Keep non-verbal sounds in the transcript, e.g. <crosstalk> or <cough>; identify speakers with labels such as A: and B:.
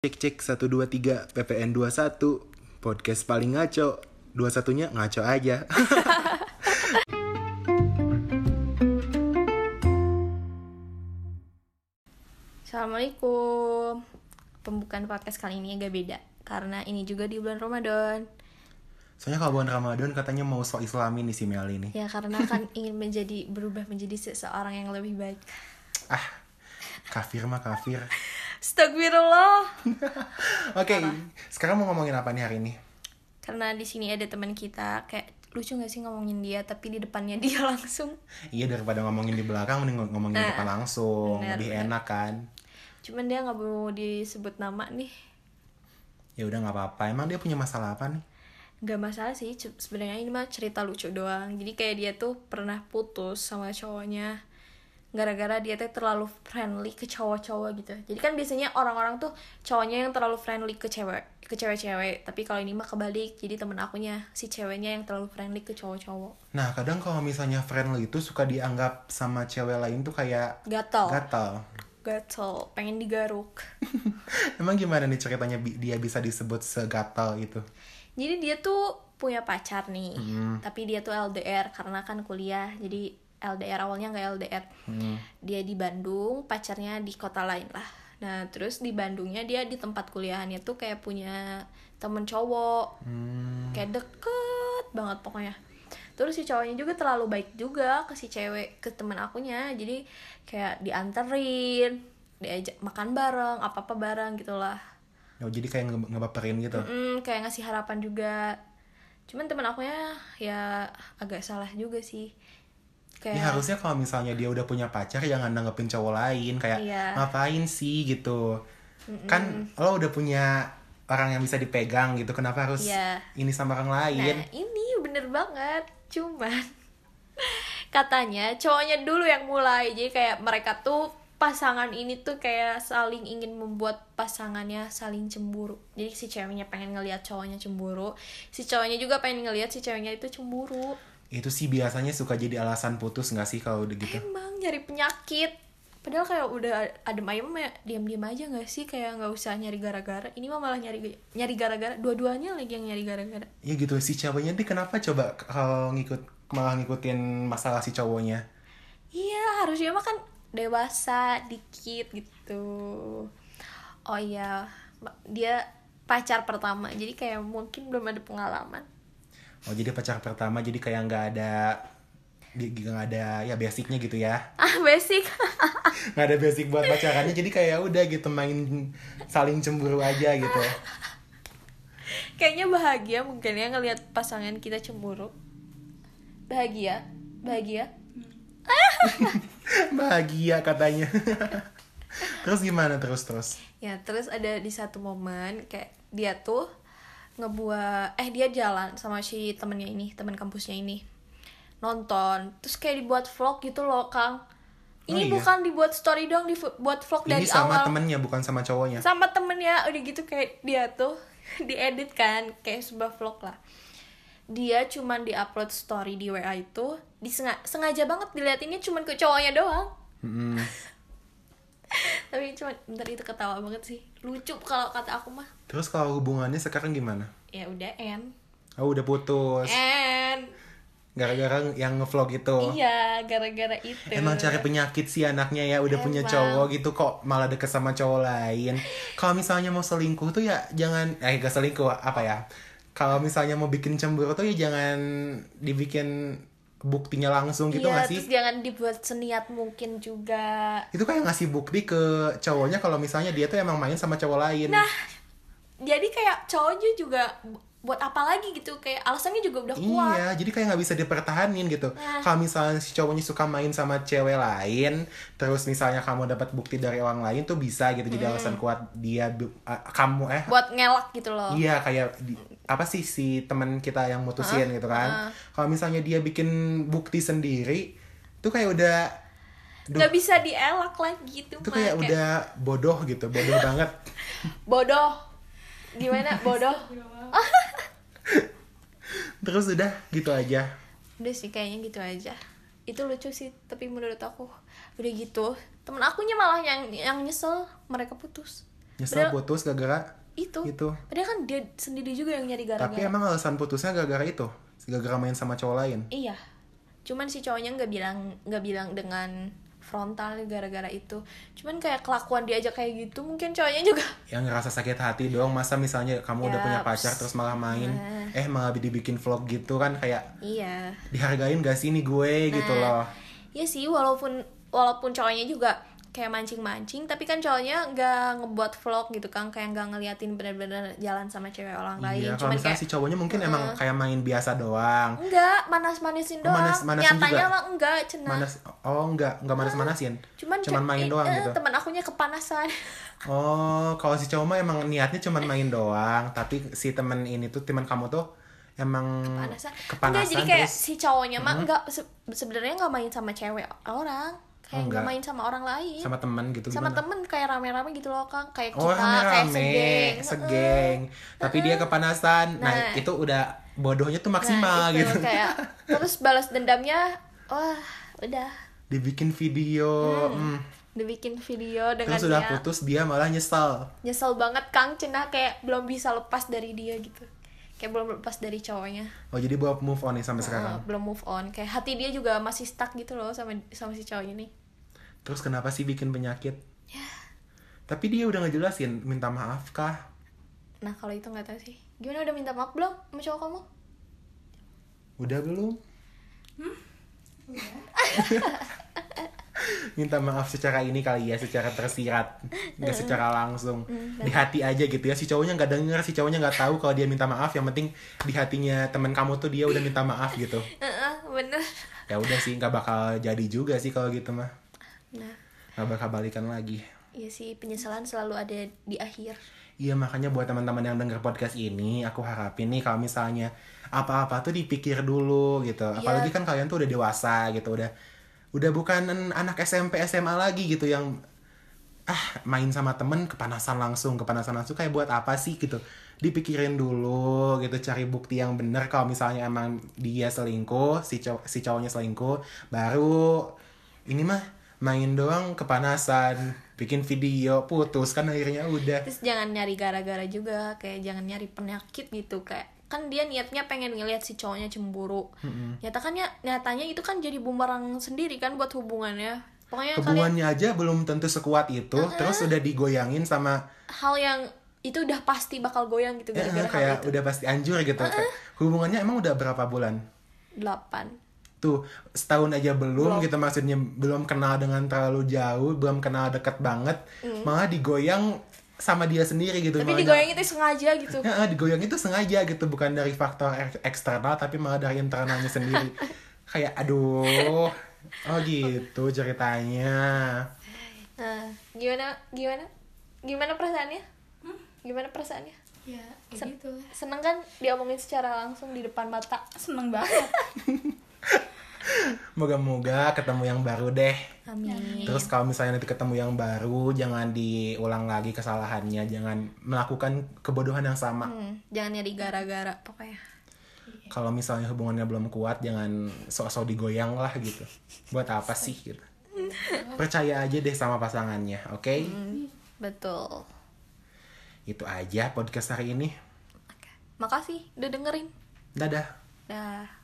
A: Cek cek 123 PPN 21 podcast paling ngaco. Dua satunya ngaco aja. <laughs>
B: Assalamualaikum Pembukaan podcast kali ini agak beda Karena ini juga di bulan Ramadan
A: Soalnya kalau bulan Ramadan katanya mau sok islami nih si Mel ini.
B: Ya karena kan ingin menjadi berubah menjadi seseorang yang lebih baik
A: Ah, kafir mah
B: <laughs>
A: kafir.
B: Astagfirullah
A: Oke, sekarang mau ngomongin apa nih hari ini?
B: Karena di sini ada teman kita Kayak lucu gak sih ngomongin dia Tapi di depannya dia <laughs> langsung
A: Iya daripada ngomongin di belakang mending ngomongin di depan langsung,
B: Eh, bener,
A: lebih
B: bener.
A: enak kan.
B: Cuman dia gak mau disebut nama nih
A: Ya udah nggak apa-apa. Emang dia punya masalah apa nih?
B: Gak masalah sih cu- sebenarnya ini mah cerita lucu doang Jadi kayak dia tuh pernah putus sama cowoknya Gara-gara dia tuh terlalu friendly ke cowok-cowok gitu Jadi kan biasanya orang-orang tuh cowoknya yang terlalu friendly ke cewek ke cewek-cewek Tapi kalau ini mah kebalik Jadi temen akunya si ceweknya yang terlalu friendly ke cowok-cowok
A: Nah, kadang kalau misalnya friendly itu suka dianggap sama cewek lain tuh kayak
B: Gatel
A: gatal.
B: Gatel Pengen digaruk
A: <laughs> Emang gimana nih ceritanya bi- dia bisa disebut segatal itu?
B: Jadi dia tuh punya pacar nih, tapi dia tuh LDR karena kan kuliah, jadi LDR awalnya nggak LDR. Dia di Bandung, pacarnya di kota lain lah. Nah terus di Bandungnya dia di tempat kuliahannya tuh kayak punya temen cowok,
A: Hmm.
B: kayak deket banget pokoknya. Terus si cowoknya juga terlalu baik juga ke si cewek, ke temen akunya, jadi kayak dianterin, diajak makan bareng, apa apa bareng gitu gitulah.
A: Oh, jadi kayak nge- ngebaperin gitu.
B: Mm, kayak ngasih harapan juga cuman temen aku ya agak salah juga sih kayak
A: Ya harusnya kalau misalnya dia udah punya pacar jangan nanggepin cowok lain kayak
B: Iya.
A: ngapain sih gitu. Kan lo udah punya orang yang bisa dipegang gitu. Kenapa harus
B: Iya.
A: ini sama orang lain?
B: nah ini bener banget cuman <laughs> katanya cowoknya dulu yang mulai jadi kayak mereka tuh pasangan ini tuh kayak saling ingin membuat pasangannya saling cemburu jadi si ceweknya pengen ngelihat cowoknya cemburu si cowoknya juga pengen ngelihat si ceweknya itu cemburu
A: Itu sih biasanya suka jadi alasan putus nggak sih kalau udah gitu?
B: Emang nyari penyakit. Padahal kayak udah adem ayem ya diam-diam aja nggak sih kayak nggak usah nyari gara-gara. Ini mah malah nyari nyari gara-gara. Dua-duanya lagi yang nyari gara-gara.
A: Ya gitu si ceweknya nih kenapa coba kalau ngikut malah ngikutin masalah si cowoknya?
B: Iya harusnya mah kan dewasa dikit gitu. Oh iya ma- dia pacar pertama jadi kayak mungkin belum ada pengalaman. <laughs>
A: Oh jadi pacar pertama jadi kayak nggak ada nggak ada ya basicnya gitu ya
B: Ah basic. <laughs>
A: nggak ada basic buat pacarannya jadi kayak udah gitu main saling cemburu aja gitu
B: Kayaknya bahagia mungkin ya ngelihat pasangan kita cemburu. Bahagia, bahagia.
A: bahagia katanya terus gimana terus terus
B: Ya, terus ada di satu momen kayak dia tuh ngebuat eh dia jalan sama si temennya ini, teman kampusnya ini. Nonton, terus kayak dibuat vlog gitu loh, Kang.
A: Oh, iya?
B: Ini bukan dibuat story doang, dibuat vlog
A: ini
B: dari
A: sama
B: awal.
A: temennya bukan sama cowoknya
B: Sama temennya udah gitu kayak dia tuh <laughs> diedit kan kayak sebuah vlog lah. Dia cuman diupload story di WA itu, disengaja sengaja banget diliatinnya cuman ke cowoknya doang
A: Mm-mm.
B: <laughs> tapi cuma bentar itu ketawa banget sih lucu kalau kata aku mah
A: terus kalau hubungannya sekarang gimana
B: ya udah end
A: oh udah
B: Eh.
A: putus
B: end
A: gara-gara yang ngevlog itu
B: iya gara-gara itu
A: Oh. Emang cari penyakit sih anaknya ya udah punya
B: Emang.
A: cowok gitu kok malah deket sama cowok lain. Kalau misalnya mau selingkuh tuh ya jangan eh gak selingkuh apa ya? Kalau misalnya mau bikin cemburu tuh ya jangan dibikin buktinya langsung gitu
B: iya
A: nggak sih?
B: terus jangan dibuat seniat mungkin juga
A: Itu kayak ngasih bukti ke cowoknya kalau misalnya dia tuh emang main sama cowok lain.
B: nah jadi kayak cowoknya juga bu- buat apa lagi gitu kayak alasannya juga udah kuat
A: Iya, jadi kayak nggak bisa dipertahanin gitu.
B: Nah.
A: Kalau misalnya si cowoknya suka main sama cewek lain, terus misalnya kamu dapat bukti dari orang lain tuh bisa gitu.
B: Hmm.
A: Jadi alasan kuat dia bu- eh, kamu eh
B: buat ngelak gitu loh
A: Iya kayak di- apa sih si teman kita yang mutusin
B: Uh-huh.
A: gitu kan. Kalau misalnya dia bikin bukti sendiri itu kayak udah duh,
B: nggak bisa dielak lagi
A: itu
B: itu, mah
A: kayak
B: Kayak
A: udah bodoh gitu,
B: <laughs>
A: bodoh banget.
B: bodoh gimana bodoh
A: Terus udah gitu aja.
B: udah sih kayaknya gitu aja itu lucu sih tapi menurut aku udah gitu temen akunya malah yang yang nyesel mereka putus
A: nyesel
B: Padahal-
A: putus gara-gara
B: itu
A: itu
B: padahal kan dia sendiri juga yang nyari gara-gara
A: tapi emang alasan putusnya gara-gara itu gara-gara main sama cowok lain
B: iya cuman si cowoknya nggak bilang nggak bilang dengan frontal gara-gara itu cuman kayak kelakuan dia aja kayak gitu mungkin cowoknya juga
A: yang ngerasa sakit hati
B: Iya.
A: doang masa misalnya kamu udah punya
B: Yaps.
A: pacar terus malah main
B: Nah.
A: eh malah dibikin vlog gitu kan kayak
B: iya
A: dihargain gak sih ini gue gitu loh
B: Iya sih, walaupun walaupun cowoknya juga kayak mancing-mancing, tapi kan cowoknya nggak ngebuat vlog gitu kan, kayak nggak ngeliatin bener-bener jalan sama cewek orang lain,
A: iya kalau
B: cuman
A: misalnya
B: kayak
A: si cowoknya mungkin emang kayak main biasa doang
B: enggak manas-manisin doang.
A: manas-manasin
B: Nyatanya
A: Oh, juga?
B: mah enggak, cenah.
A: manas oh enggak enggak manas manasin
B: Iya. Cuman,
A: cuman
B: kayak,
A: main
B: eh,
A: doang
B: eh,
A: gitu
B: Temen akunya kepanasan. <laughs>
A: oh kalau si cowok mah emang niatnya cuman main doang tapi si temen ini tuh teman kamu tuh emang
B: kepanasan. Enggak,
A: kepanasan
B: jadi kayak
A: terus Hmm?
B: si cowoknya mah enggak se- sebenarnya enggak main sama cewek orang, kayak enggak
A: Oh, Enggak.
B: main sama orang lain.
A: sama temen gitu
B: Sama
A: gimana
B: temen kayak rame-rame gitu loh, Kang. Kayak
A: Oh,
B: kita, kayak segeng.
A: rame-rame, segeng.
B: Heeh.
A: Tapi dia kepanasan. Nah,
B: Nah.
A: itu udah bodohnya tuh
B: Nah,
A: maksimal
B: itu
A: gitu.
B: kayak terus balas dendamnya wah udah
A: <laughs> Dibikin video, hmm.
B: dibikin video dengan
A: terus udah
B: dia
A: putus dia malah nyesel.
B: nyesel banget Kang Cina kayak belum bisa lepas dari dia gitu kayak belum lepas dari cowoknya
A: Oh, jadi buat move on nih sampai sekarang.
B: Eh, belum move on kayak hati dia juga masih stuck gitu loh sama sama si cowok ini
A: Terus kenapa sih bikin penyakit? Tapi dia udah ngejelasin minta maaf kah?
B: nah kalau itu nggak tahu sih gimana udah minta maaf belum sama cowok kamu
A: Udah belum? minta maaf secara ini kali ya secara tersirat nggak secara langsung di hati aja gitu ya si cowoknya nggak denger si cowoknya nggak tahu kalau dia minta maaf yang penting di hatinya teman kamu tuh dia udah minta maaf gitu
B: Eh, eh, bener
A: ya udah sih nggak bakal jadi juga sih kalau gitu mah
B: nah
A: nggak bakal balikan lagi
B: iya sih penyesalan selalu ada di akhir
A: Iya makanya buat teman-teman yang denger podcast ini aku harapin nih kalau misalnya apa-apa tuh dipikir dulu gitu. Apalagi kan kalian tuh udah dewasa gitu, udah udah bukan anak SMP SMA lagi gitu yang ah main sama temen kepanasan langsung kepanasan langsung kayak buat apa sih gitu dipikirin dulu gitu cari bukti yang bener kalau misalnya emang dia selingkuh si cow si cowoknya selingkuh baru ini mah main doang kepanasan bikin video putus kan akhirnya udah
B: terus jangan nyari gara-gara juga kayak jangan nyari penyakit gitu kayak kan dia niatnya pengen ngelihat si cowoknya cemburu nyata kan ya nyatanya itu kan jadi bumerang sendiri kan buat hubungannya pokoknya kalian
A: hubungannya aja belum tentu sekuat itu terus udah digoyangin sama
B: hal yang itu udah pasti bakal goyang gitu
A: eh,
B: gara-gara hal
A: kayak
B: itu
A: udah pasti anjur gitu Kayak, hubungannya emang udah berapa bulan
B: delapan
A: tuh setahun aja belum, gitu maksudnya belum kenal dengan terlalu jauh belum kenal deket banget malah digoyang sama dia sendiri gitu
B: Hmm. tapi
A: malah-
B: digoyang itu sengaja gitu
A: Ya, eh, digoyang itu sengaja gitu bukan dari faktor ek- eksternal tapi malah dari internalnya
B: <laughs>
A: sendiri kayak aduh oh gitu ceritanya
B: nah, gimana gimana gimana perasaannya gimana perasaannya
C: ya kayak
B: Sen-
C: gitu lah
B: seneng kan diomongin secara langsung di depan mata
C: seneng banget
A: moga-moga ketemu yang baru deh
B: amin
A: Terus kalau misalnya nanti ketemu yang baru, jangan diulang lagi kesalahannya, jangan melakukan kebodohan yang sama.
B: Hmm, jangan nyari gara-gara pokoknya
A: Kalau misalnya hubungannya belum kuat, jangan sok-sok digoyang lah gitu. Buat apa sih gitu. Percaya aja deh sama pasangannya, oke?
B: betul
A: Itu aja podcast hari ini.
B: Oke. Makasih udah dengerin.
A: Dadah.
B: Dah.